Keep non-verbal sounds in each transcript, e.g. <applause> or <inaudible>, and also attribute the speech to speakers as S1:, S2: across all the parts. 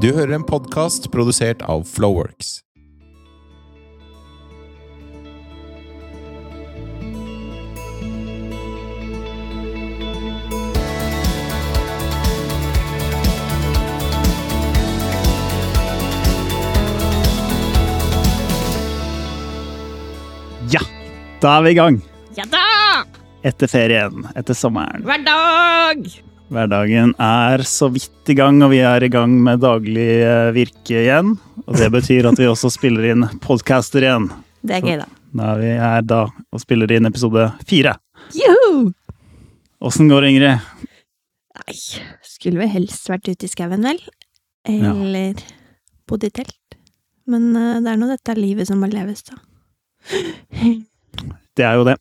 S1: Du hører en podkast produsert av Flowworks.
S2: Ja, da er vi i gang.
S3: Ja da!
S2: Etter ferien, etter sommeren.
S3: Hver dag!
S2: Hverdagen er så vidt i gang, og vi er i gang med daglig eh, virke igjen. Og det betyr at vi også spiller inn podcaster igjen.
S3: Det er gøy, da.
S2: Da er vi her da og spiller inn episode fire.
S3: Juhu!
S2: Åssen går det, Ingrid?
S3: Nei, skulle vi helst vært ute i skauen, vel? Eller bodd i telt. Men eh, det er nå dette livet som må leves, da.
S2: Det er jo det.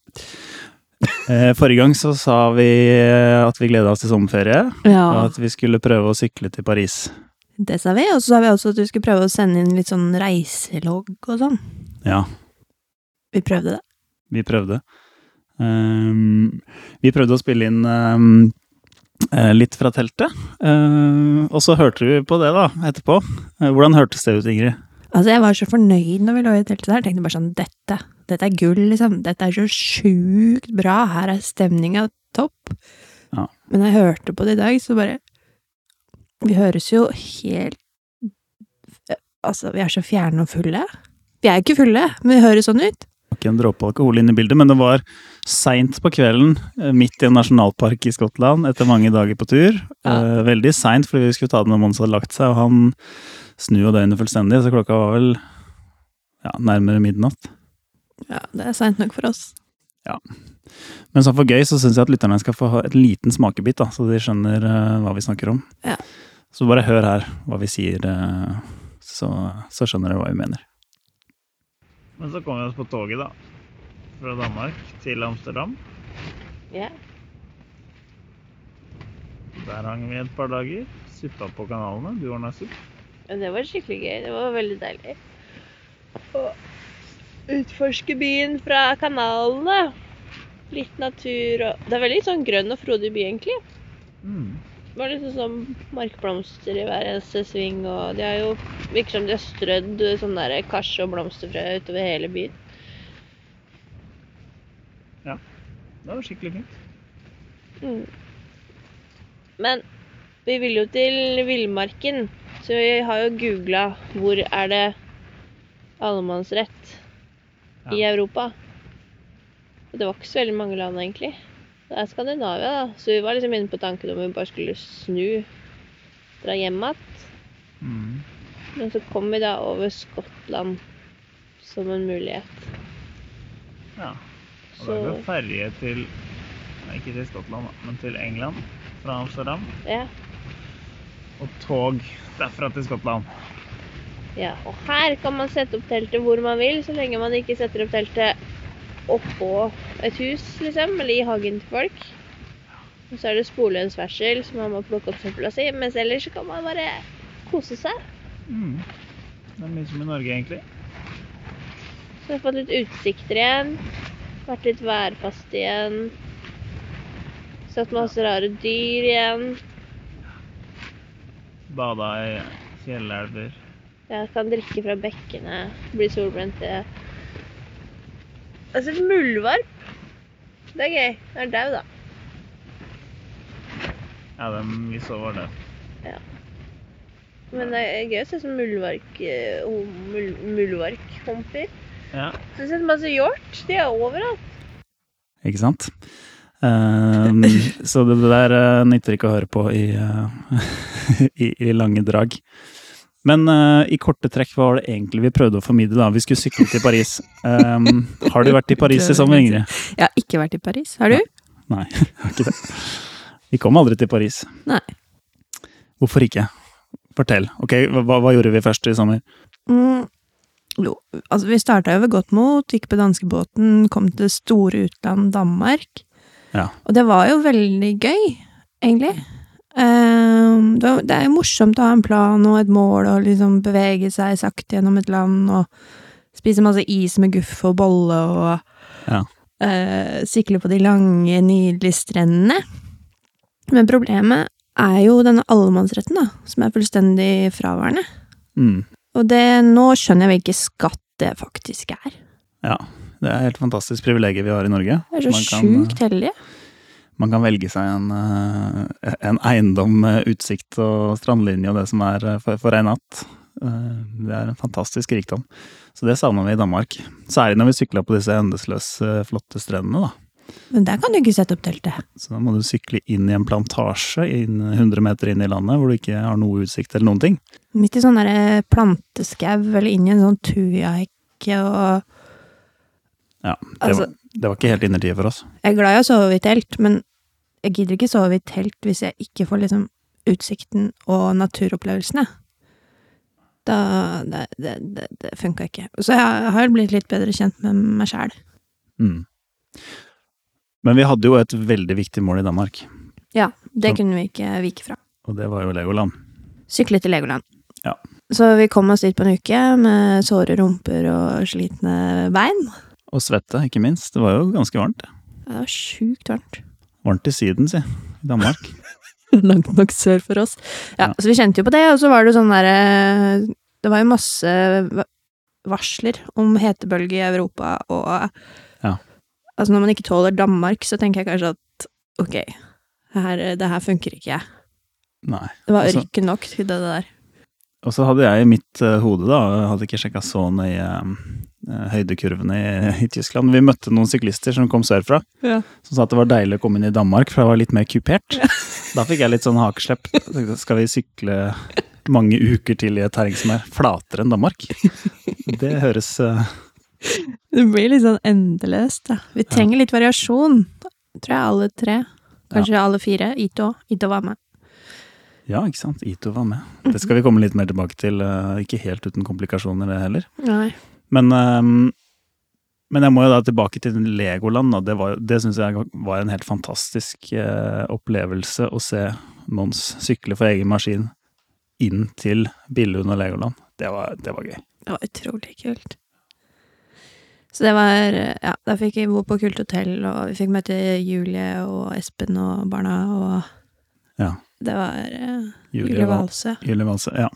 S2: Eh, Forrige gang så sa vi eh, at vi gleda oss til sommerferie, og
S3: Ja,
S2: at vi skulle prøve å sykle til Paris.
S3: det sa vi. Og så sa vi også at vi skulle prøve å sende inn litt sånn reiselogg og sånn.
S2: Ja,
S3: Vi prøvde det.
S2: Vi prøvde. Ehm, vi prøvde å spille inn ehm, eh, litt fra teltet. Ehm, og så hørte vi på det da, etterpå. Eh, hvordan hørtes det ut, Ingrid?
S3: Altså, jeg var så fornøyd når vi lå i teltet der. Jeg tenkte bare sånn, dette, dette er gull, liksom. Dette er så sjukt bra. Her er stemninga topp.
S2: Ja.
S3: Men jeg hørte på det i dag, så bare Vi høres jo helt Altså, vi er så fjerne og fulle. Vi er jo ikke fulle, men vi høres sånn ut.
S2: Det var Ikke en dråpe alkohol inne i bildet, men det var seint på kvelden, eh, midt i en nasjonalpark i Skottland, etter mange dager på tur.
S3: Ja.
S2: Eh, veldig seint, fordi vi skulle ta det når Mons hadde lagt seg, og han snur jo døgnet fullstendig, så klokka var vel ja, nærmere midnatt.
S3: Ja, det er seint nok for oss.
S2: Men sånn for gøy så syns jeg at lytterne skal få ha et liten smakebit, da, så de skjønner eh, hva vi snakker om.
S3: Ja.
S2: Så bare hør her hva vi sier, eh, så, så skjønner dere hva vi mener. Men så kom vi oss på toget, da. Fra Danmark til Amsterdam.
S3: Ja.
S2: Der hang vi et par dager. Suppa på kanalene. Du ordna supp.
S3: Det var skikkelig gøy. Det var veldig deilig. Å utforske byen fra kanalene. Litt natur og Det er veldig sånn grønn og frodig by, egentlig.
S2: Mm.
S3: Det var liksom sånn markblomster i hver eneste sving, og de har jo virker som de har strødd sånn der karse og blomsterfrø utover hele byen.
S2: Det var skikkelig fint.
S3: Mm. Men vi vil jo til villmarken, så vi har jo googla hvor er det allemannsrett i Europa. Og det var ikke så veldig mange land, egentlig. Det er Skandinavia, da. Så vi var liksom inne på tanken om vi bare skulle snu, dra hjem igjen.
S2: Mm.
S3: Men så kom vi da over Skottland som en mulighet.
S4: Ja. Og da
S3: Så
S4: er det ferje til Nei, ikke til Skottland, da, men til England fra Amsterdam.
S3: ja.
S4: Og tog derfra til Skottland.
S3: ja. Og her kan man sette opp teltet hvor man vil, så lenge man ikke setter opp teltet oppå et hus, liksom, eller i hagen til folk. Og så er det spolehønsferdsel, så man må plukke opp søpla si. Mens ellers så kan man bare kose seg.
S4: Mm. Det er mye som i Norge, egentlig.
S3: Så vi har fått litt utsikter igjen. Vært litt værfast igjen. Sett masse rare dyr igjen.
S4: Bada i fjellelver.
S3: Jeg kan drikke fra bekkene, bli solbrent det. Altså, muldvarp. Det er gøy. Den er dau, da.
S4: Ja, dem vi så var det.
S3: Men det er gøy å se sånn muldvark, eh, hom- mul- muldvarkhomper.
S4: Ja.
S3: Så har jeg sett masse hjort. De er overalt.
S2: Ikke sant? Ehm, så det der eh, nytter ikke å høre på i, eh, <laughs> i, i lange drag. Men eh, i korte trekk, hva var det egentlig vi prøvde å formidle? da? Vi skulle sykle til Paris. Ehm, har du vært i Paris i sommer, Ingrid?
S3: Jeg har ikke vært i Paris. Har du?
S2: Nei, jeg har ikke det. Vi kom aldri til Paris.
S3: Nei.
S2: Hvorfor ikke? Fortell. Ok, hva, hva gjorde vi først i sommer?
S5: Mm. Jo, altså vi starta jo ved godt mot, gikk på danskebåten, kom til det store utland, Danmark.
S2: Ja.
S5: Og det var jo veldig gøy, egentlig. Ehm, det, var- det er jo morsomt å ha en plan og et mål og liksom bevege seg sakte gjennom et land og spise masse is med guff og bolle og
S2: Ja.
S5: eh, sikle på de lange, nydelige strendene. Men problemet er jo denne allemannsretten, da, som er fullstendig fraværende.
S2: Mm.
S5: Og det, nå skjønner jeg hvilken skatt det faktisk er.
S2: Ja. Det er et helt fantastisk privilegium vi har i Norge.
S5: Vi er så
S2: Man kan, eh,
S5: sjukt heldige.
S2: Man kan velge seg en, eh, en eiendom med utsikt og strandlinje og det som er eh, for, for en natt. Eh, Det er en fantastisk rikdom. Så det savner vi i Danmark. Særlig når vi sykla på disse endeløse eh, flotte strendene, da.
S5: Men der kan du ikke sette opp teltet.
S2: Så da må du sykle inn i en plantasje inn 100 meter inn i landet hvor du ikke har noe utsikt eller noen ting.
S5: Midt i sånn derre planteskau, eller inn i en sånn tujahekke og
S2: Ja, det,
S5: Altså-
S2: var, det var ikke helt innertiet for oss.
S5: Jeg er glad i å sove i telt, men jeg gidder ikke sove i telt hvis jeg ikke får liksom utsikten og naturopplevelsene. Da Det, det, det, det funka ikke. Så jeg har blitt litt bedre kjent med meg sjæl.
S2: Mm. Men vi hadde jo et veldig viktig mål i Danmark,
S5: Ja, det
S2: Så-
S5: kunne vi ikke vike fra.
S2: og det var jo Legoland.
S5: Sykle til Legoland.
S2: Ja.
S5: Så vi kom oss dit på en uke med såre rumper og slitne bein.
S2: Og svette, ikke minst. Det var jo ganske varmt.
S5: Det var sjukt varmt.
S2: Varmt i Syden, si. I Danmark.
S5: <laughs> Langt nok sør for oss. Ja,
S2: Ja.
S5: Så vi kjente jo på det, og så var det jo sånn derre Det var jo masse va- varsler om hetebølge i Europa og
S2: Ja.
S5: Altså, når man ikke tåler Danmark, så tenker jeg kanskje at ok, her, det her funker ikke.
S2: Nei.
S5: Det var
S2: Altså-
S5: ørken nok til det der.
S2: Og så hadde jeg i mitt eh, hode, da, jeg hadde ikke sjekka så nøye eh, høydekurvene i, i Tyskland. Vi møtte noen syklister som kom sørfra,
S5: Ja.
S2: som sa at det var deilig å komme inn i Danmark, for det var litt mer kupert. <laughs> Da fikk jeg litt sånn hakeslepp. Jeg tenkte, Skal vi sykle mange uker til i et terreng som er flatere enn Danmark? Det høres eh,
S5: Det blir litt sånn endeløst, da. Vi trenger litt variasjon. Tror jeg alle tre. Kanskje alle fire. Ito. Ito var med.
S2: Ja, ikke sant. Ito var med. Det skal vi komme litt mer tilbake til. eh, Ikke helt uten komplikasjoner, det heller.
S5: Nei.
S2: Men, ehm, men jeg må jo da tilbake til Legoland. Da. Det, var- det syns jeg var en helt fantastisk eh, opplevelse å se Mons sykle for egen maskin inn til Billund og Legoland. Det var, det var gøy.
S5: Det var utrolig kult. Så det var Ja, da fikk vi bo på kult hotell, og vi fikk møte Julie og Espen og barna, og
S2: Ja.
S5: det var eh,
S2: Julie
S5: Julie
S2: Val-
S5: Valsø.
S2: Julie Valse. Ja.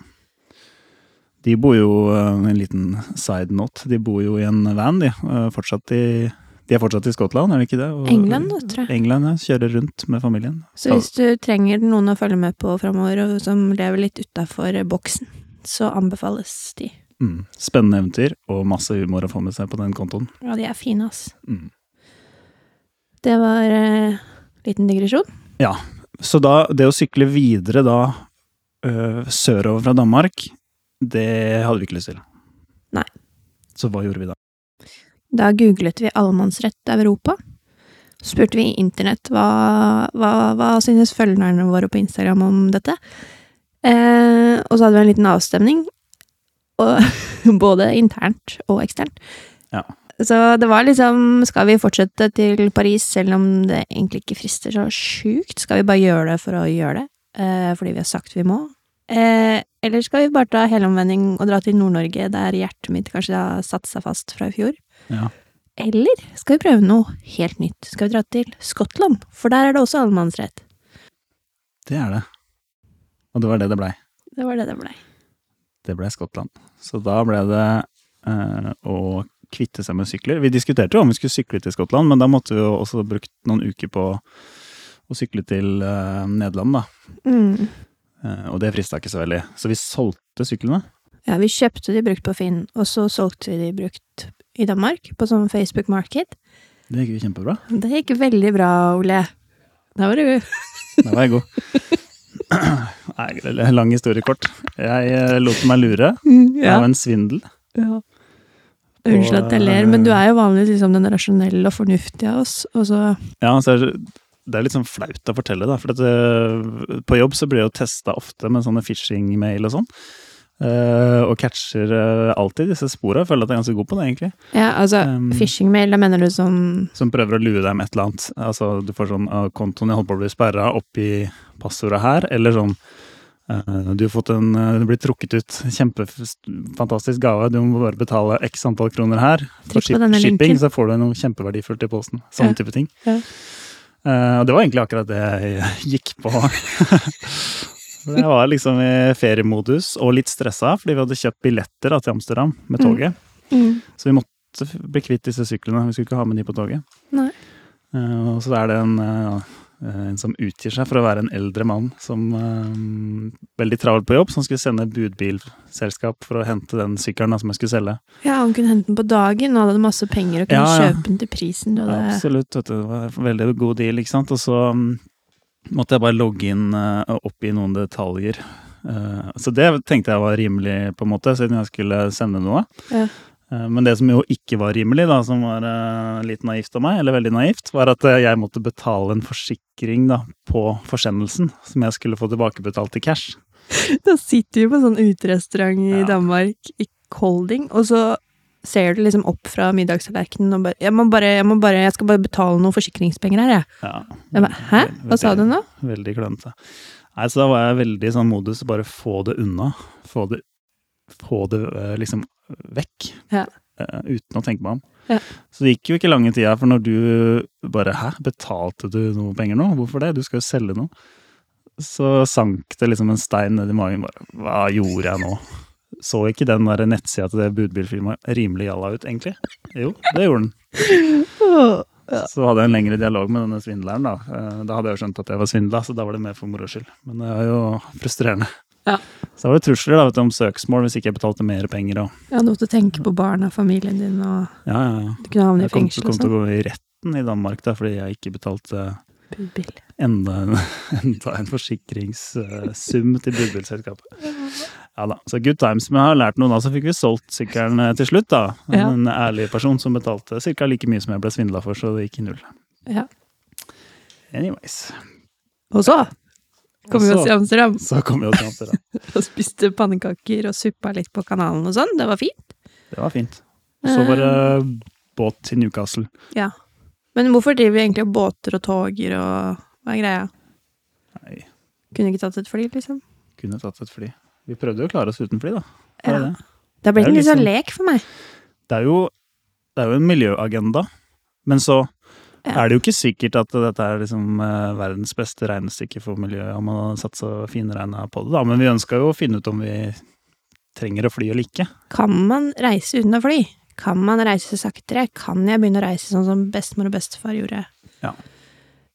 S2: De bor jo, eh, en liten side note, de bor jo i en van, de. eh, Fortsatt i, de er fortsatt i Skottland, er det ikke det? Og-
S5: England, da, tror jeg.
S2: England, ja. Kjører rundt med familien.
S5: Så hvis du trenger noen å følge med på framover, og som lever litt utafor boksen, så anbefales de.
S2: Mm. Spennende eventyr og masse humor å få med seg på den kontoen.
S5: Ja, de er fine, ass.
S2: Mm.
S5: Det var eh, liten digresjon.
S2: Så da, det å sykle videre da øh, sørover fra Danmark, det hadde vi ikke lyst til.
S5: Nei.
S2: Så hva gjorde vi da?
S5: Da googlet vi allemannsrett Europa. Så spurte vi internett hva, hva, hva synes følgerne våre på Instagram om dette. Eh, og så hadde vi en liten avstemning, og, <laughs> både internt og eksternt.
S2: Ja.
S5: Så det var liksom Skal vi fortsette til Paris, selv om det egentlig ikke frister så sjukt? Skal vi bare gjøre det for å gjøre det, eh, fordi vi har sagt vi må? Eh, eller skal vi bare ta helomvending og dra til Nord-Norge, der hjertet mitt kanskje har satt seg fast fra i fjor?
S2: Ja.
S5: Eller skal vi prøve noe helt nytt? Skal vi dra til Skottland? For der er det også allemannsrett.
S2: Det er det. Og det var det det blei.
S5: Det var det det blei.
S2: Det blei Skottland. Så da blei det øh, å kvitte seg med sykler. Vi diskuterte jo om vi skulle sykle til Skottland, men da måtte vi jo også brukt noen uker på å sykle til øh, Nederland, da.
S5: Mm.
S2: Eh, og det frista ikke så veldig. Så vi solgte syklene.
S5: Ja, vi kjøpte de brukt på Finn, og så solgte vi de brukt i Danmark, på sånn Facebook Market.
S2: Det gikk jo kjempebra.
S5: Det gikk veldig bra, Ole. Da var du
S2: Der var jeg god. Nei, det er lang historie kort. Jeg eh, lot meg lure
S5: ja.
S2: av en svindel.
S5: ja. Unnskyld at jeg ler, men du er jo vanligvis liksom den rasjonelle og fornuftige av oss, og så
S2: Ja, så er det- det er litt sånn flaut å fortelle, da. For at, eh, på jobb så blir jeg jo testa ofte med sånne phishing-mail og sånn. Eh, og catcher eh, alltid disse spora. Jeg Føler at jeg er ganske god på det, egentlig.
S5: Ja, altså,
S2: Um,
S5: phishing-mail, da mener du sånn
S2: Som prøver å lure deg med et eller annet. Altså, du får sånn ah, 'Kontoen jeg holdt på å bli sperra, oppi passordet her', eller sånn eh, du har fått en, eh, du blir trukket ut. Kjempefantastisk gave. Du må bare betale x antall kroner her. For
S5: Trykk på
S2: ship,
S5: denne
S2: shipping
S5: linken.
S2: så får du noe kjempeverdifullt i posten. Sånne
S5: Ja.
S2: type ting.
S5: Ja.
S2: Eh, og det var egentlig akkurat det jeg gikk på. <laughs> For Jeg var liksom i feriemodus og litt stressa, fordi vi hadde kjøpt billetter da, til Amsterdam med toget.
S5: Mm.
S2: Så vi måtte f- bli kvitt disse syklene. Vi skulle ikke ha med de på toget.
S5: Nei.
S2: Eh, og så er det en, eh, eh, en som utgir seg for å være en eldre mann som eh, veldig travel på jobb, som skulle sende budbilselskap for å hente den sykkelen da, som jeg skulle selge.
S5: Ja, han kunne hente den på dagen, og han hadde masse penger og kunne
S2: Ja, ja.
S5: kjøpe den til prisen. Du hadde...
S2: Absolutt, vet du, det var en veldig god deal, ikke sant. Og så mm, måtte jeg bare logge inn eh, og oppgi noen detaljer. Eh, så det tenkte jeg var rimelig, på en måte, siden jeg skulle sende noe.
S5: Ja.
S2: Eh, Men det som jo ikke var rimelig, da, som var eh, litt naivt av meg, eller veldig naivt, var at eh, jeg måtte betale en forsikring da, på forsendelsen, som jeg skulle få tilbakebetalt i cash.
S5: Da sitter vi på sånn uterestaurant i
S2: Ja.
S5: Danmark, i Kolding, og så ser du liksom opp fra middagstallerkenen og bare jeg, må bare jeg må bare, jeg skal bare betale noen forsikringspenger her, jeg.
S2: Ja,
S5: jeg bare, Hæ? Hva sa du nå?
S2: Veldig klønete. Nei, så da var jeg veldig i sånn modus, bare få det unna. Få det, få det eh, liksom vekk.
S5: Ja.
S2: Eh, Uten å tenke meg om.
S5: Ja.
S2: Så det gikk jo ikke lange tida, for når du bare Hæ, betalte du noe penger nå? Hvorfor det? Du skal jo selge noe. Så sank det liksom en stein ned i magen. Bare hva gjorde jeg nå? Så ikke den der nettsida til det budbilfirmaet rimelig jalla ut, egentlig? Jo, det gjorde den.
S5: Åh.
S2: Så hadde jeg en lengre dialog med denne svindleren. Da Eh, Da hadde jeg jo skjønt at jeg var svindla, så da var det mer for moro skyld. Men det er jo frustrerende.
S5: Ja.
S2: Så var det trusler da, vet du, om søksmål hvis ikke jeg betalte mer penger. Og,
S5: Ja, du måtte tenke på barna, familien din, og
S2: ja, ja, ja.
S5: du kunne havne
S2: Jeg
S5: i
S2: kom,
S5: fengsel
S2: kom
S5: og
S2: til å
S5: sånn.
S2: gå i retten i Danmark da, fordi jeg ikke betalte
S5: Budbil.
S2: enda en, <laughs> enda en forsikringssum til budbilselskapet. Ja da, så good times. Men jeg har lært noe da, så fikk vi solgt sykkelen eh, til slutt. da.
S5: Ja.
S2: En ærlig person som betalte ca. like mye som jeg ble svindla for, så det gikk i null.
S5: Ja.
S2: Anyways,
S5: Og så kom vi
S2: Og
S5: oss til
S2: så-
S5: Amsterdam
S2: så kom vi oss til Amsterdam.
S5: og spiste pannekaker og suppa litt på kanalen og sånn. Det var fint.
S2: Det var fint. Så
S5: Eh.
S2: var det båt til Newcastle.
S5: Ja. Men hvorfor driver vi egentlig og båter og toger og hva er greia?
S2: Nei,
S5: Kunne ikke tatt et fly, liksom?
S2: kunne tatt et fly. Vi prøvde jo å klare oss uten fly, da. Det er,
S5: Ja.
S2: det.
S5: Det har
S2: Det
S5: blitt
S2: er
S5: en
S2: jo
S5: litt sånn
S2: liksom-
S5: lek for meg.
S2: Det er, jo, det er jo en miljøagenda. Men så
S5: Ja.
S2: er det jo ikke sikkert at dette er liksom eh, verdens beste regnestykke for miljøet, om man har satt så finregna på det, da. Men vi ønska jo å finne ut om vi trenger å fly eller ikke.
S5: Kan man reise uten å fly? Kan man reise saktere? Kan jeg begynne å reise sånn som bestemor og bestefar gjorde?
S2: Ja.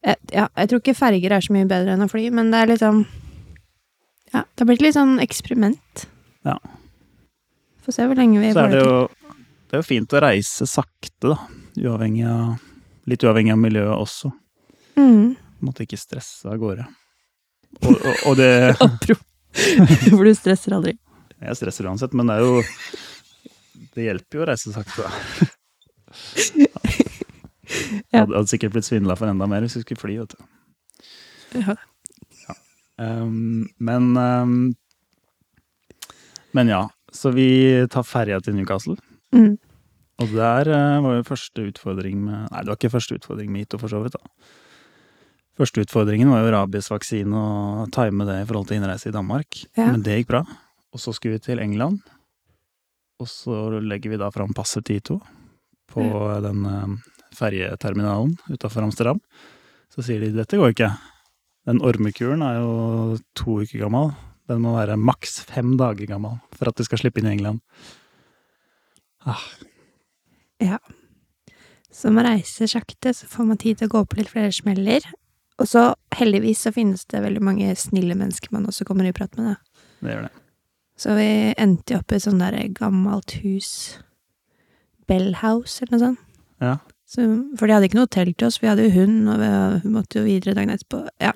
S5: Jeg, ja, jeg tror ikke ferger er så mye bedre enn å fly, men det er liksom Ja, det har blitt litt sånn eksperiment.
S2: Ja.
S5: Får se hvor lenge vi
S2: Så er det
S5: får det til.
S2: jo det er jo fint å reise sakte, da. Uavhengig av, litt uavhengig av miljøet også.
S5: Mm.
S2: <laughs> Måtte ikke stresse av gårde. Og, og, og
S5: <laughs>
S2: det
S5: For du stresser aldri.
S2: Jeg stresser uansett, men det er jo Det hjelper jo å reise sakte, da.
S5: Ja.
S2: Hadde, hadde sikkert blitt svindla for enda mer hvis vi skulle fly, vet du.
S5: Ja.
S2: Ehm, men ehm, Men ja. Så vi tar ferja til Newcastle.
S5: Mm.
S2: Og der eh, var jo første utfordring med Nei, det var ikke første utfordring med Ito, for så vidt, da. Første utfordringen var jo rabiesvaksine og time det i forhold til innreise i Danmark.
S5: Ja.
S2: Men det gikk bra. Og så skulle vi til England. Og så legger vi da fram passet til Ito på den eh, ferjeterminalen utafor Amsterdam. Så sier de dette går ikke. Den ormekuren er jo to uker gammel. Den må være maks fem dager gammel for at du skal slippe inn i England.
S5: Så man reiser sakte, så får man tid til å gå på litt flere smeller. Og så heldigvis så finnes det veldig mange snille mennesker man også kommer i prat med, da.
S2: Det gjør det.
S5: Så vi endte jo opp i et sånt der gammelt hus, Bell House eller noe sånt.
S2: Ja.
S5: Så, for de hadde ikke noe hotell til oss, vi hadde jo hund, og vi, hun måtte jo videre dagen etterpå. Ja.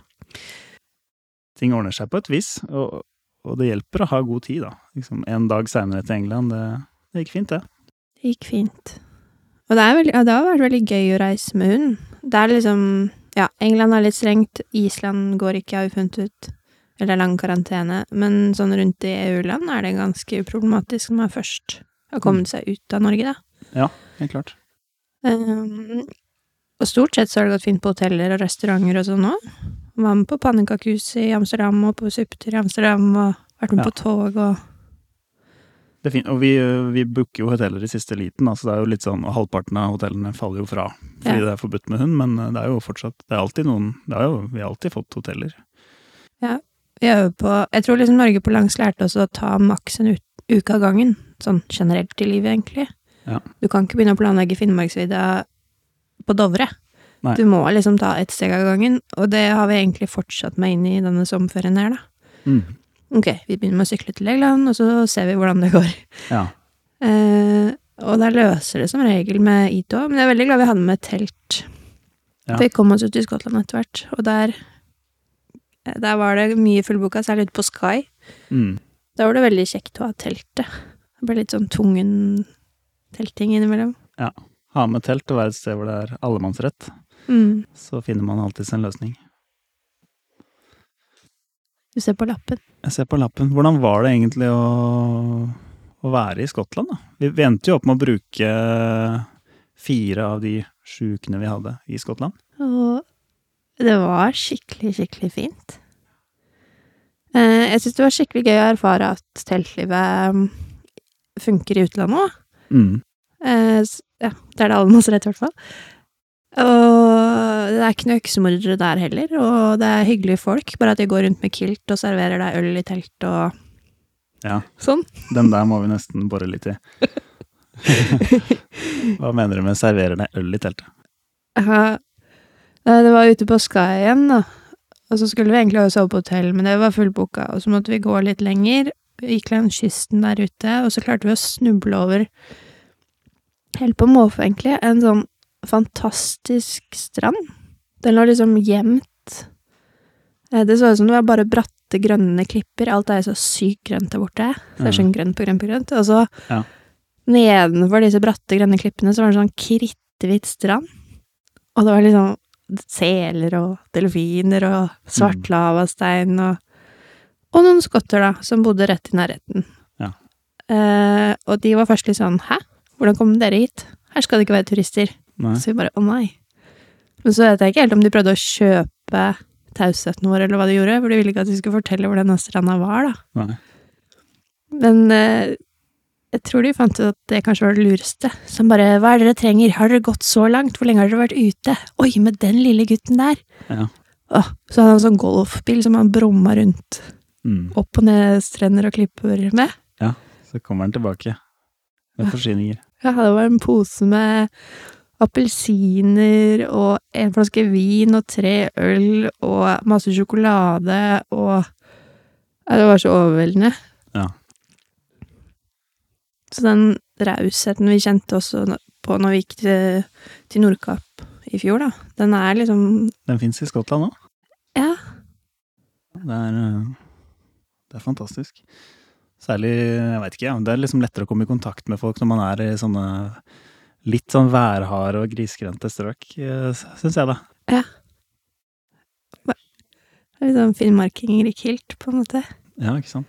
S2: ting ordner seg på et vis, og, og det hjelper å ha god tid, da. Liksom, en dag seinere til England, det, det gikk fint, det.
S5: Det gikk fint. Og det, er veldig, ja, det har vært veldig gøy å reise med hund. Det er liksom Ja, England er litt strengt, Island går ikke, har vi funnet ut. Eller det er lang karantene. Men sånn rundt i EU-land er det ganske uproblematisk når man først har kommet seg ut av Norge, da.
S2: Helt klart.
S5: Um, og stort sett så har det gått fint på hoteller og restauranter og sånn òg. Var med på pannekakehuset i Amsterdam og på suppetur i Amsterdam og vært med
S2: Ja.
S5: på tog og
S2: Det er fint. Og vi, eh, vi booker jo hoteller i siste liten, da, så det er jo litt sånn, og halvparten av hotellene faller jo fra fordi
S5: Ja.
S2: det er forbudt med hund, men eh, det er jo fortsatt Det er alltid noen det er jo, Vi har alltid fått hoteller.
S5: Vi øver på Jeg tror liksom Norge på langs lærte oss å ta maks en ut- uke av gangen. Sånn generelt i livet, egentlig.
S2: Ja.
S5: Du kan ikke begynne å planlegge Finnmarksvidda på Dovre.
S2: Nei.
S5: Du må liksom ta ett steg av gangen, og det har vi egentlig fortsatt med inn i denne sommerferien her, da.
S2: Mm.
S5: Ok, vi begynner med å sykle til Legoland, og så ser vi hvordan det går.
S2: Ja.
S5: Eh, og der løser det som regel med Ito, men jeg er veldig glad vi hadde med telt.
S2: Ja.
S5: For vi kom oss ut i Skottland etter hvert, og der, eh, der var det mye fullboka, særlig ute på Sky.
S2: Mm.
S5: Da var det veldig kjekt å ha teltet. Det ble litt sånn tvungen telting innimellom.
S2: Ha med telt og være et sted hvor det er allemannsrett.
S5: Mm.
S2: Så finner man alltids en løsning.
S5: Du ser på lappen.
S2: Jeg ser på lappen. Hvordan var det egentlig å, å være i Skottland, da? Vi, vi endte jo opp med å bruke fire av de sju ukene vi hadde i Skottland.
S5: Og det var skikkelig, skikkelig fint. Eh, Jeg syns det var skikkelig gøy å erfare at teltlivet mm, funker i utlandet òg. Mm. Ja, det er det alle masse rett, i hvert fall. Og det er ikke noe øksemordere der heller, og det er hyggelige folk. Bare at de går rundt med kilt og serverer deg øl i telt og
S2: Ja.
S5: sånn.
S2: Den der må vi nesten bore litt i.
S5: <laughs>
S2: Hva mener du med 'serverer deg øl i teltet'?
S5: Ja. Nei, Det var ute på Sky igjen, da. Og så skulle vi egentlig også sove på hotell, men det var fullbooka. Og så måtte vi gå litt lenger. Vi gikk langs kysten der ute, og så klarte vi å snuble over Helt på måfå, egentlig. En sånn fantastisk strand. Den lå liksom gjemt. Eh, Det så ut som det var bare bratte, grønne klipper. Alt er jo så sykt grønt der borte. Så det er sånn grønt på grønt på grønt. Og så
S2: Mm. Ja.
S5: nedenfor disse bratte, grønne klippene så var det sånn kritthvit strand. Og det var liksom seler og delfiner og
S2: Mm.
S5: svart lavastein og Og noen skotter, da, som bodde rett i nærheten.
S2: Ja.
S5: Eh, og de var først litt sånn Hæ, hvordan kom dere hit? Her skal det ikke være turister.
S2: Nei.
S5: Så vi bare å nei. Men så vet jeg ikke helt om de prøvde å kjøpe tausheten vår, eller hva de gjorde, for de ville ikke at vi skulle fortelle hvor denne stranda var, da.
S2: Nei.
S5: Men eh, jeg tror de fant ut at det kanskje var det lureste. Som bare Hva er det dere trenger? Har dere gått så langt? Hvor lenge har dere vært ute? Oi, med den lille gutten der!
S2: Ja.
S5: Åh, så hadde han sånn golfbil som han bromma rundt
S2: Mm.
S5: opp og ned strender og klipper med.
S2: Så kommer den tilbake med forsyninger.
S5: Ja, det var en pose med appelsiner og en flaske vin og tre øl og masse sjokolade og ja, Det var så overveldende.
S2: Ja.
S5: Så den rausheten vi kjente også n- på når vi gikk til, til Nordkapp i fjor, da, den er liksom
S2: Den fins i Skottland òg.
S5: Ja.
S2: Det er, eh, det er fantastisk. Særlig, jeg veit ikke, ja, det er liksom lettere å komme i kontakt med folk når man er i sånne litt sånn værharde og grisgrendte strøk, eh, syns jeg, da.
S5: Litt sånn finnmarkinger i kilt, på en måte.
S2: Ja, ikke sant?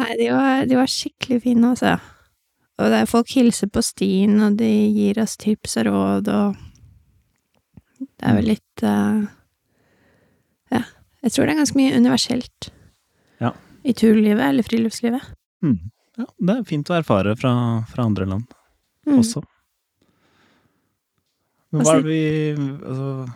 S5: Nei, de var, de var skikkelig fine, altså. Og det er folk hilser på stien, og de gir oss tips og råd, og Det
S2: Mm.
S5: er vel litt eh, Ja. Jeg tror det er ganske mye universelt.
S2: Ja.
S5: I turlivet eller friluftslivet.
S2: Mm. Ja, det er fint å erfare fra, fra andre land.
S5: Mm.
S2: også. Men hva
S5: Altså-
S2: er det vi altså,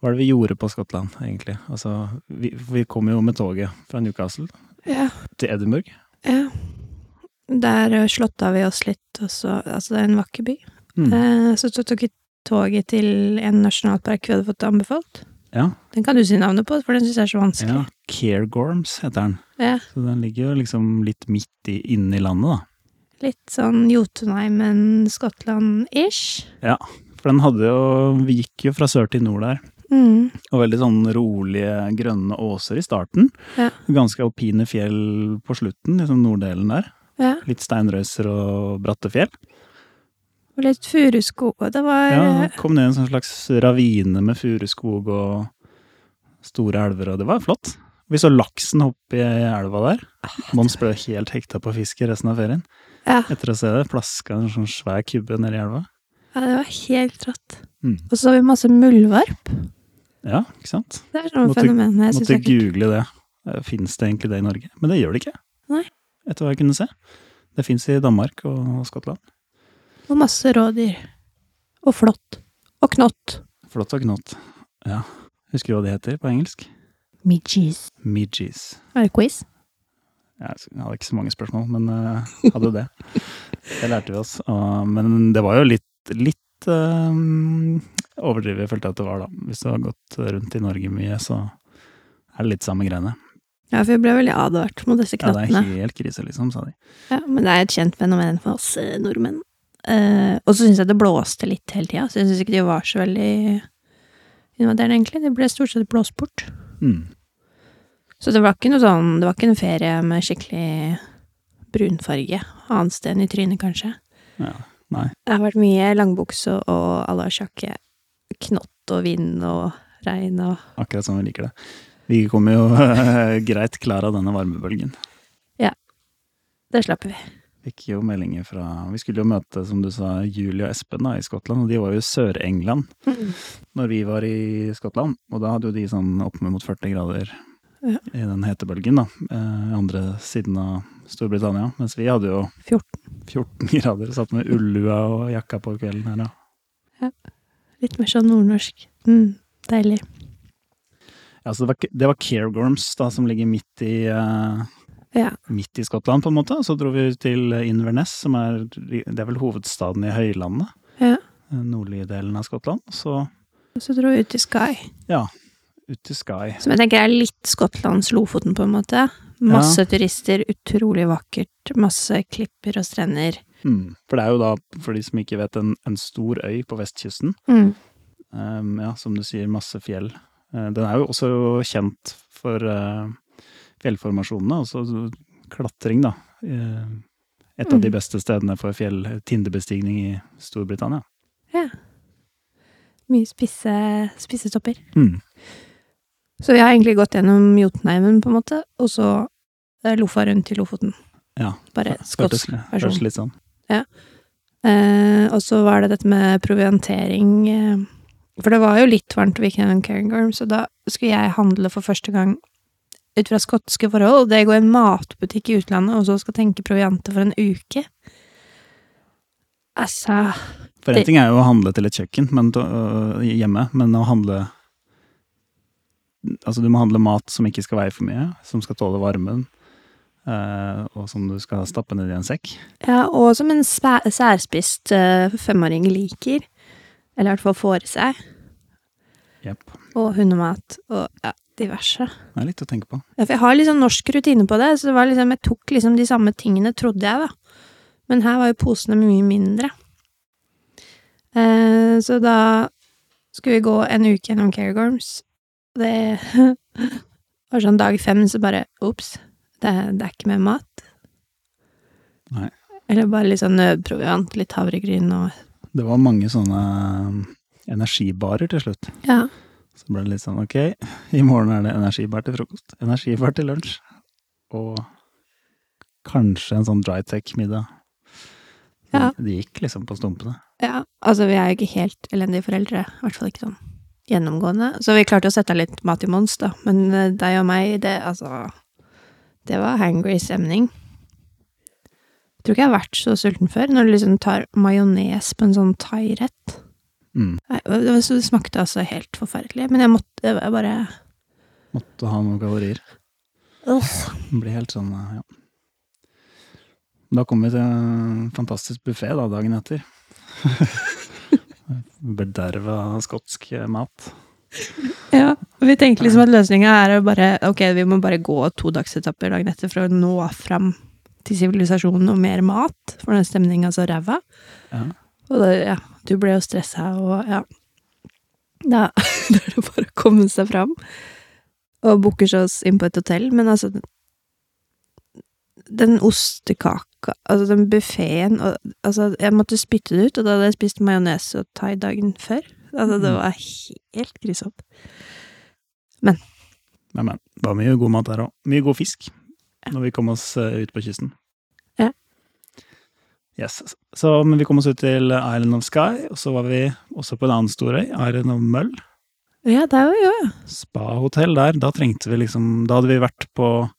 S2: Hva er det vi gjorde på Skottland, egentlig? Altså, vi, vi kom jo med toget fra Newcastle
S5: Ja,
S2: til Edinburgh.
S5: ja. Der eh, slått av vi oss litt, og så Altså, det er en vakker by.
S2: Mm.
S5: Eh, Så tok vi toget til en nasjonalpark vi hadde fått anbefalt.
S2: Ja.
S5: Den kan du si navnet på, for den syns jeg er så vanskelig.
S2: ja. Cairngorms heter den.
S5: Ja.
S2: Så den ligger jo liksom litt midt i, inne i landet, da.
S5: Litt sånn Jotunheimen, Skottland-ish.
S2: For den hadde jo Vi gikk jo fra sør til nord der.
S5: Mm.
S2: Og veldig sånn rolige, grønne åser i starten.
S5: Ja.
S2: Ganske alpine fjell på slutten, liksom norddelen der.
S5: Ja.
S2: Litt steinrøyser og bratte fjell.
S5: Og litt furuskog, og det var
S2: Ja, det kom ned i en sånn slags ravine med furuskog og store elver, og det var flott. Vi så laksen hoppe i elva der. Mons ble helt hekta på fiske resten av ferien.
S5: Ja.
S2: Etter å se det, plaska en sånn svær kubbe nedi elva.
S5: ja, det var helt rått.
S2: Mm.
S5: Og så så vi masse muldvarp.
S2: Ja, ikke sant?
S5: Det er sånn
S2: Måtte- Eh,
S5: fenomen jeg syns
S2: Måtte
S5: er kult.
S2: google det. Fins det egentlig det i Norge? Men det gjør det ikke.
S5: Nei.
S2: Jeg etter hva jeg kunne se. Det fins i Danmark og Skottland.
S5: Og masse rådyr. Og flått. Og knott.
S2: Flott og knott. Ja. Husker du hva det heter på engelsk?
S5: Midges.
S2: Midges.
S5: Er det quiz?
S2: Ja, Jeg hadde ikke så mange spørsmål, men eh, hadde det. Det lærte vi oss. og- men det var jo litt, litt eh, overdrivet, følte jeg at det var da. Hvis du har gått rundt i Norge mye, så er det litt samme greiene.
S5: Ja, for jeg ble veldig advart mot disse
S2: Ja, det er
S5: knottene.
S2: helt krise, liksom, sa de.
S5: Ja, men det er et kjent fenomen for oss eh, nordmenn. Eh, og så syns jeg det blåste litt hele tida, så jeg syns ikke de var så veldig invaderende, egentlig. Det ble stort sett blåst bort.
S2: Mm.
S5: Så det var ikke noe sånn Det var ikke en ferie med skikkelig brunfarge. Annet sted enn i trynet, kanskje.
S2: Ja, nei.
S5: Det har vært mye langbukse og alasjakke. Knott og vind og regn og
S2: Akkurat som vi liker det. Vi kommer jo <laughs> eh, greit klar av denne varmebølgen.
S5: Det slapp vi.
S2: Fikk jo meldinger fra Vi skulle jo møte, som du sa, Julie og Espen da, i Skottland, og de var jo i Sør-England
S5: <laughs>
S2: når vi var i Skottland. Og da hadde jo de sånn opp mot 40 grader
S5: Ja.
S2: i den hetebølgen, da. eh, andre siden av Storbritannia. Mens vi hadde jo
S5: 14.
S2: 14 <laughs> grader og satt med ullua og jakka på kvelden her, da.
S5: Litt mer sånn nordnorsk. Mm, deilig.
S2: Ja, så det var, K- det var Cairgorms, da, som ligger midt i eh,
S5: Ja.
S2: midt i Skottland, på en måte. Og så dro vi til Inverness, som er, det er vel hovedstaden i høylandet.
S5: Ja.
S2: Den nordlige delen av Skottland. Og så
S5: Og så dro vi ut til Sky.
S2: ut til Skye.
S5: Som jeg tenker er litt Skottlands-Lofoten, på en måte. Masse turister, utrolig vakkert. Masse klipper og strender. Hmm.
S2: Mm. For det er jo da, for de som ikke vet, en, en stor øy på vestkysten.
S5: Mm.
S2: Um, ja, som du sier, masse fjell. Eh, den er jo også kjent for eh, fjellformasjonene, altså klatring, da. Eh, et av de
S5: Mm.
S2: beste stedene for fjell, tinderbestigning i Storbritannia.
S5: Mye spisse, spissetopper.
S2: Mm.
S5: Så vi har egentlig gått gjennom Jotunheimen, på en måte, og så eh, Lofa rundt til Lofoten.
S2: Ja.
S5: Bare
S2: Hørtes,
S5: skotsk versjon.
S2: hørtes litt sånn.
S5: Eh, og så var det dette med proviantering. Eh, for det var jo litt varmt i Viken og Cairngorm, så da skulle jeg handle for første gang ut fra skotske forhold. Det går en matbutikk i utlandet, og så skal tenke provianter for en uke. Altså
S2: For en ting er jo å handle til et kjøkken men, to- øh, hjemme, men å handle Altså, du må handle mat som ikke skal veie for mye, som skal tåle varmen, eh, og som du skal stappe ned i en sekk.
S5: Ja, og som en spæ- særspist eh, femåring liker. Eller i hvert fall får i seg.
S2: Jepp.
S5: Og hundemat og ja, diverse.
S2: Det er litt å tenke på.
S5: Ja, for jeg har liksom norsk rutine på det, så det var liksom, jeg tok liksom de samme tingene, trodde jeg, da. Men her var jo posene mye mindre. Eh, så da skulle vi gå en uke gjennom Cairngorms. Det <laughs> var sånn dag fem, så bare ops, det, det er ikke mer mat.
S2: Nei.
S5: Eller bare litt sånn nødproviant, litt havregryn og
S2: Det var mange sånne øh, energibarer til slutt.
S5: Ja.
S2: Så ble det litt sånn ok, i morgen er det energibar til frokost, energibar til lunsj, og kanskje en sånn dry tech-middag.
S5: Ja.
S2: Det de gikk liksom på stumpene.
S5: Ja, altså vi er jo ikke helt elendige foreldre, i hvert fall ikke sånn gjennomgående. Så vi klarte å sette av litt mat i Mons, da, men eh, deg og meg, det altså Det var hangry stemning. Jeg tror ikke jeg har vært så sulten før, når du liksom tar majones på en sånn thairett.
S2: Mm.
S5: Nei, Det var- det smakte altså helt forferdelig, men jeg måtte jeg bare
S2: Måtte ha noen kalorier.
S5: Uff.
S2: Den blir helt sånn, ja. Da kom vi til en fantastisk buffé da, dagen etter. Bederva skotsk mat.
S5: Ja, og vi tenkte liksom at løsninga er å bare Ok, vi må bare gå to dagsetapper dagen etter for å nå fram til sivilisasjonen og mer mat, for den stemninga så ræva.
S2: Ja.
S5: Og da, ja, du ble jo stressa, og ja Da <laughs> da er det bare å komme seg fram. Og booker seg oss inn på et hotell, men altså Den ostekaka, altså den buffeen Altså, jeg måtte spytte det ut, og da hadde jeg spist majones og thai dagen før. Altså, det var helt grisopp.
S2: Nei, men, det var mye god mat der også. Mye god fisk, når vi kom oss eh, ut på kysten.
S5: Ja.
S2: Yes, så men vi kom oss ut til Island of Sky, og så var vi også på en annen stor øy, Island of Mull.
S5: Ja, det er jo jo.
S2: Spahotell der, da trengte vi liksom Da hadde vi vært på, på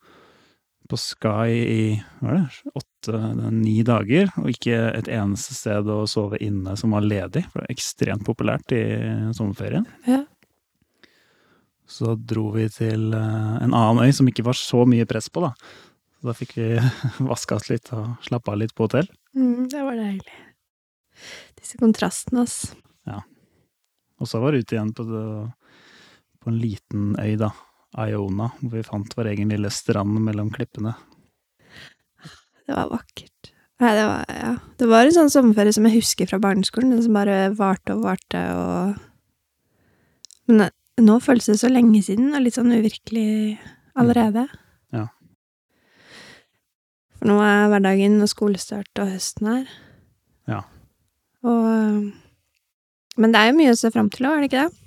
S2: på Sky i hva er det, åtte-ni dager, og ikke et eneste sted å sove inne som var ledig. For det er ekstremt populært i sommerferien.
S5: Ja.
S2: Så dro vi til eh, en annen øy som ikke var så mye press på, da. Så da fikk vi <laughs> vaska oss litt og slappa av litt på hotell.
S5: Mm, det var deilig. Disse kontrastene, ass.
S2: Og så var vi ute igjen på, det- på en liten øy, da. Iona, hvor vi fant vår egen lille strand mellom klippene.
S5: Det var vakkert. Nei, det var, ja. det var en sånn sommerferie som jeg husker fra barneskolen, den som bare varte og varte og Men eh, nå føles det så lenge siden, og litt sånn uvirkelig allerede.
S2: Mm. Ja.
S5: For nå er hverdagen og skolestart og høsten her.
S2: Ja.
S5: Og eh, Men det er jo mye å se fram til òg, er det ikke det?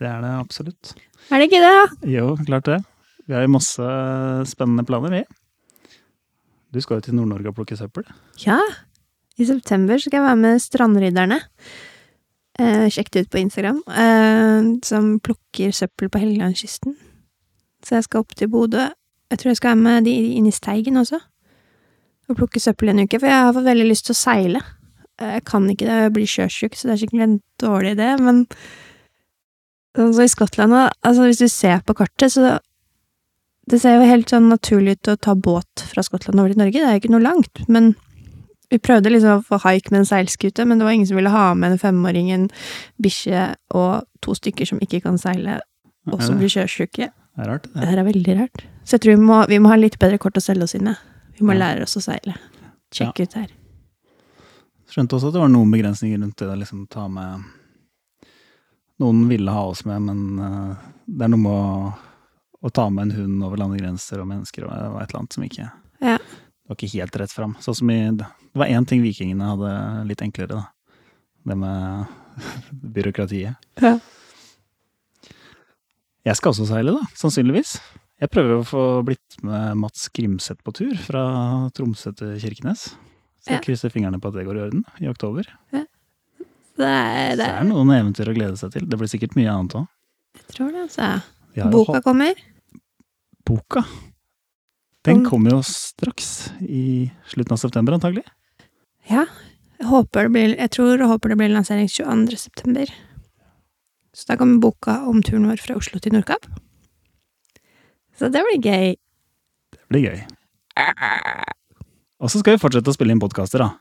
S2: Det er det absolutt.
S5: Er det ikke det?
S2: Jo, klart det. Vi har jo masse spennende planer, vi. Du skal jo til Nord-Norge og plukke søppel.
S5: Ja. I september skal jeg være med Strandrydderne. Eh, Sjekk det ut på Instagram. Eh, som plukker søppel på Helgelandskysten. Så jeg skal opp til Bodø. Jeg tror jeg skal være med de inn i Steigen også. Og plukke søppel en uke, for jeg har fått veldig lyst til å seile. Eh, Jeg kan ikke det, jeg blir sjøsjuk, så det er sikkert en dårlig idé, men Sånn som i Skottland, da, altså hvis du ser på kartet, så Det ser jo helt sånn naturlig ut å ta båt fra Skottland over til Norge, det er jo ikke noe langt, men vi prøvde liksom å få haik med en seilskute, men det var ingen som ville ha med en femåring, en bikkje og to stykker som ikke kan seile, og som blir sjøsjuke.
S2: Det er rart.
S5: Det her er veldig rart. Så jeg tror vi må, vi må ha litt bedre kort å selge oss inn med. Vi må
S2: Ja.
S5: lære oss å seile. Sjekk ut her.
S2: Skjønte også at det var noen begrensninger rundt det å liksom ta med Noen ville ha oss med, men eh, det er noe med å, å ta med en hund over landegrenser og mennesker og det var et eller annet som ikke
S5: Ja.
S2: Det var ikke helt rett fram. Sånn som i Det var én ting vikingene hadde litt enklere, da. Det med <laughs> byråkratiet.
S5: Ja.
S2: Jeg skal også seile, da. Sannsynligvis. Jeg prøver å få blitt med Mats Grimseth på tur fra Tromsø til Kirkenes. Så jeg
S5: Ja.
S2: krysser fingrene på at det går i orden i oktober.
S5: Det er,
S2: Så
S5: det
S2: det er
S5: er,
S2: noen eventyr å glede seg til. Det blir sikkert mye annet òg.
S5: jeg tror det, altså. Boka kommer.
S2: Boka. Den
S5: Om-
S2: kommer jo straks, i slutten av september antagelig.
S5: Ja. Jeg håper det blir, jeg tror og håper det blir lansering 22. september. Så da kommer boka om turen vår fra Oslo til Nordkapp. Så det blir gøy.
S2: Det blir gøy. Og så skal vi fortsette å spille inn podkaster, da.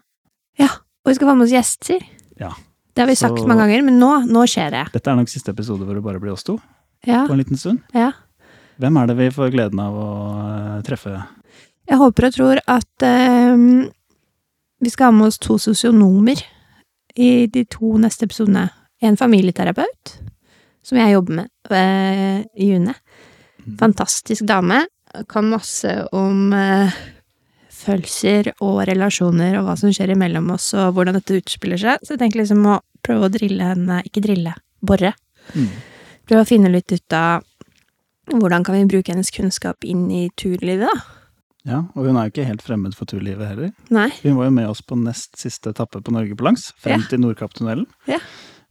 S5: Og vi skal få med oss gjester.
S2: Ja.
S5: Det har vi
S2: Så-
S5: sagt mange ganger, men nå, nå skjer det.
S2: Dette er nok siste episode hvor det bare blir oss to
S5: Ja,
S2: på en liten stund.
S5: ja.
S2: Hvem er det vi får gleden av å eh, treffe?
S5: Jeg håper og tror at ehm, vi skal ha med oss to sosionomer i de to neste episodene. En familieterapeut, som jeg jobber med, eh, June.
S2: Mm.
S5: Fantastisk dame. Kan masse om eh, følelser og relasjoner og hva som skjer imellom oss, og hvordan dette utspiller seg. Så jeg tenker liksom å prøve å drille henne Ikke drille, borre.
S2: Mm.
S5: Prøve å finne litt ut av hvordan kan vi bruke hennes kunnskap inn i turlivet, da.
S2: Ja, og hun er jo ikke helt fremmed for turlivet heller.
S5: Nei.
S2: Hun var jo med oss på nest siste etappe på Norge på langs, frem
S5: Ja.
S2: til Nordkapptunnelen.
S5: Ja.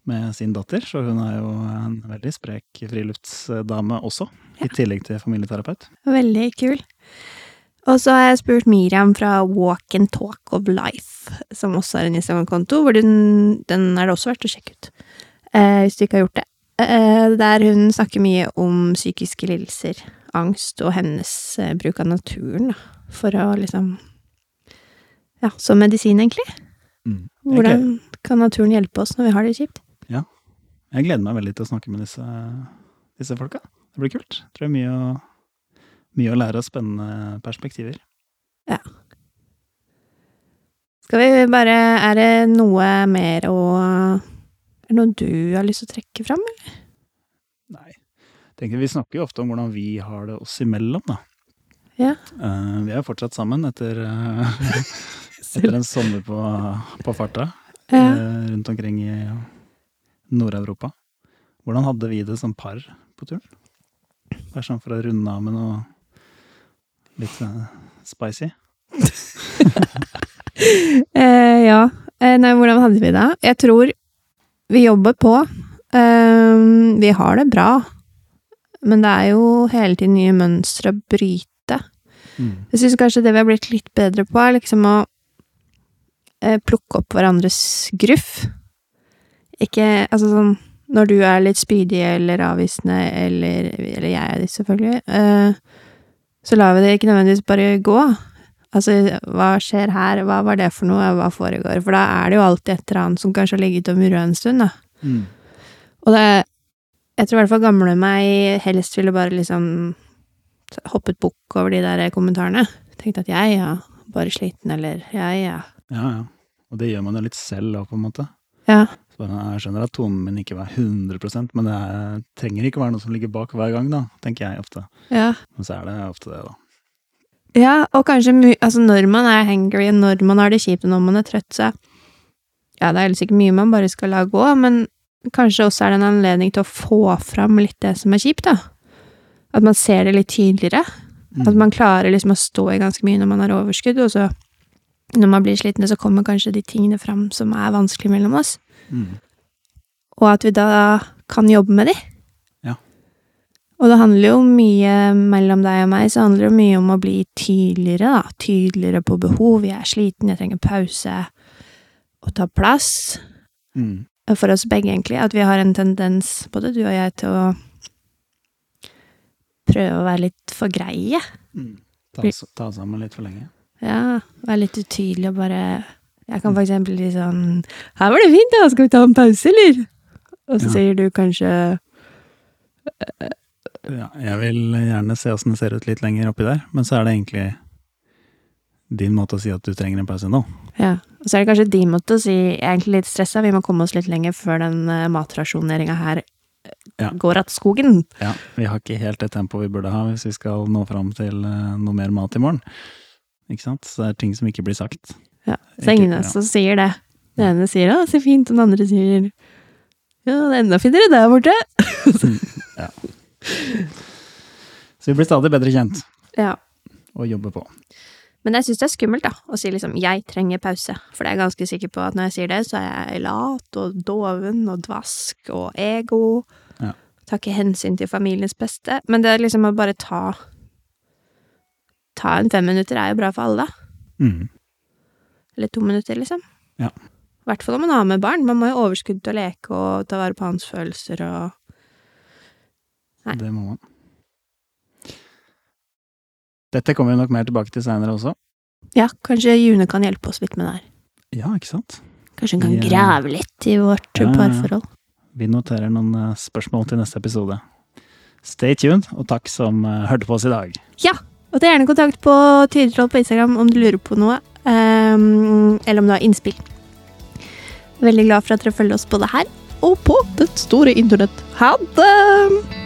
S2: Med sin datter, så hun er jo en veldig sprek friluftsdame også. I tillegg til familieterapeut.
S5: Veldig kul. Og så har jeg spurt Miriam fra Walk and Talk of Life, som også har en Instagram-konto, hvor den, den er det også verdt å sjekke ut, eh, hvis du ikke har gjort det. Eh, der hun snakker mye om psykiske lidelser, angst og hennes eh, bruk av naturen, da, for å liksom Ja, som medisin, egentlig.
S2: Jeg,
S5: Hvordan
S2: gleder,
S5: kan naturen hjelpe oss når vi har det kjipt?
S2: jeg gleder meg veldig til å snakke med disse, disse folka. Det blir kult. Tror jeg mye å, mye å lære og spennende perspektiver.
S5: Skal vi bare Er det noe mer å Er det noe du har lyst til å trekke fram, eller?
S2: Nei. Tenker Vi snakker jo ofte om hvordan vi har det oss imellom, da.
S5: Ja.
S2: Eh, vi er jo fortsatt sammen etter,
S5: <laughs>
S2: eh, etter en sommer på, på farta eh, rundt omkring i Nord-Europa. Hvordan hadde vi det som par på turen? Bare sånn for å runde av med noe litt eh, spicy.
S5: Eh, ja. Eh, nei, hvordan hadde vi det? Jeg tror vi jobber på. Ehm, vi har det bra. Men det er jo hele tiden nye mønstre å bryte.
S2: Mm.
S5: Jeg syns kanskje det vi har blitt litt bedre på, er liksom å eh, plukke opp hverandres gruff. Ikke Altså sånn når du er litt spydig eller avvisende, eller, eller jeg er det selvfølgelig, eh, så lar vi det ikke nødvendigvis bare gå. Altså, hva skjer her, hva var det for noe, hva foregår? For da er det jo alltid et eller annet som kanskje har ligget og murra en stund, da.
S2: Mm.
S5: Og det Jeg tror i hvert fall gamle meg helst ville bare liksom hoppet bukk over de der kommentarene. Tenkte at jeg, ja, bare sliten, eller jeg, ja.
S2: Ja, ja. Og det gjør man jo litt selv òg, på en måte.
S5: Ja.
S2: Så bare, jeg skjønner at tonen min ikke var 100 men det er, trenger ikke være noe som ligger bak hver gang, da, tenker jeg ofte.
S5: Ja.
S2: Men så er det ofte det, da.
S5: ja og kanskje mu- altså, når man er hangry, når man har det kjipt, og når man er trøtt, så Ja, det er helst ikke mye man bare skal la gå, men kanskje også er det en anledning til å få fram litt det som er kjipt, da. At man ser det litt tydeligere.
S2: Mm.
S5: At man klarer liksom å stå i ganske mye når man har overskudd, og så når man blir slitne, så kommer kanskje de tingene fram som er vanskelig mellom oss.
S2: mm.
S5: Og at vi da kan jobbe med de.
S2: Ja.
S5: Og det handler jo mye mellom deg og meg, så handler det jo mye om å bli tydeligere, da. Tydeligere på behov. Jeg er sliten, jeg trenger pause. Og ta plass.
S2: Mm.
S5: For oss begge, egentlig. At vi har en tendens, både du og jeg, til å prøve å være litt for greie.
S2: Mm. Ta,
S5: Blir-
S2: s- ta sammen litt for lenge.
S5: Ja, være litt utydelig og bare Jeg kan for eksempel si sånn 'Her var det fint, da. Skal vi ta en pause, eller?' Og så
S2: Ja.
S5: sier du kanskje
S2: Ja, jeg vil gjerne se åssen det ser ut litt lenger oppi der, men så er det egentlig din måte å si at du trenger en pause nå.
S5: Ja. Og så er det kanskje din måte å si 'Jeg er egentlig litt stressa, vi må komme oss litt lenger før den uh, matrasjoneringa her eh,
S2: Ja.
S5: går att skogen'.
S2: Ja, Vi har ikke helt det tempoet vi burde ha hvis vi skal nå fram til eh, noe mer mat i morgen. Ikke sant? Så det er ting som ikke blir sagt.
S5: Ja. Så
S2: Ikke-
S5: ingen av oss som sier det. Den ene sier 'Å, så fint', og den andre sier 'Ja, det er enda finere der borte'.
S2: Så vi blir stadig bedre kjent
S5: Ja.
S2: og jobber på.
S5: Men jeg syns det er skummelt da, å si liksom 'jeg trenger pause', for det er jeg ganske sikker på at når jeg sier det, så er jeg lat og doven og dvask og ego.
S2: Ja.
S5: Tar ikke hensyn til familiens beste. Men det er liksom å bare ta Ta en fem minutter er jo bra for alle, da.
S2: Mm.
S5: Eller to minutter, liksom.
S2: Ja.
S5: I hvert fall når man har med barn. Man må jo ha overskudd til å leke og ta vare på hans følelser og Nei.
S2: Det må man. Dette kommer vi nok mer tilbake til seinere også.
S5: Ja, kanskje June kan hjelpe oss litt med det her.
S2: Ja, ikke sant?
S5: Kanskje hun kan
S2: Ja.
S5: grave litt i vårt
S2: Ja, ja, ja.
S5: parforhold.
S2: Vi noterer noen eh, spørsmål til neste episode. Stay tuned, og takk som eh, hørte på oss i dag.
S5: Og ta gjerne kontakt på Tydetroll på Instagram om du lurer på noe, ehm, eller om du har innspill. Veldig glad for at dere følger oss både her og på det store internett. Ha det!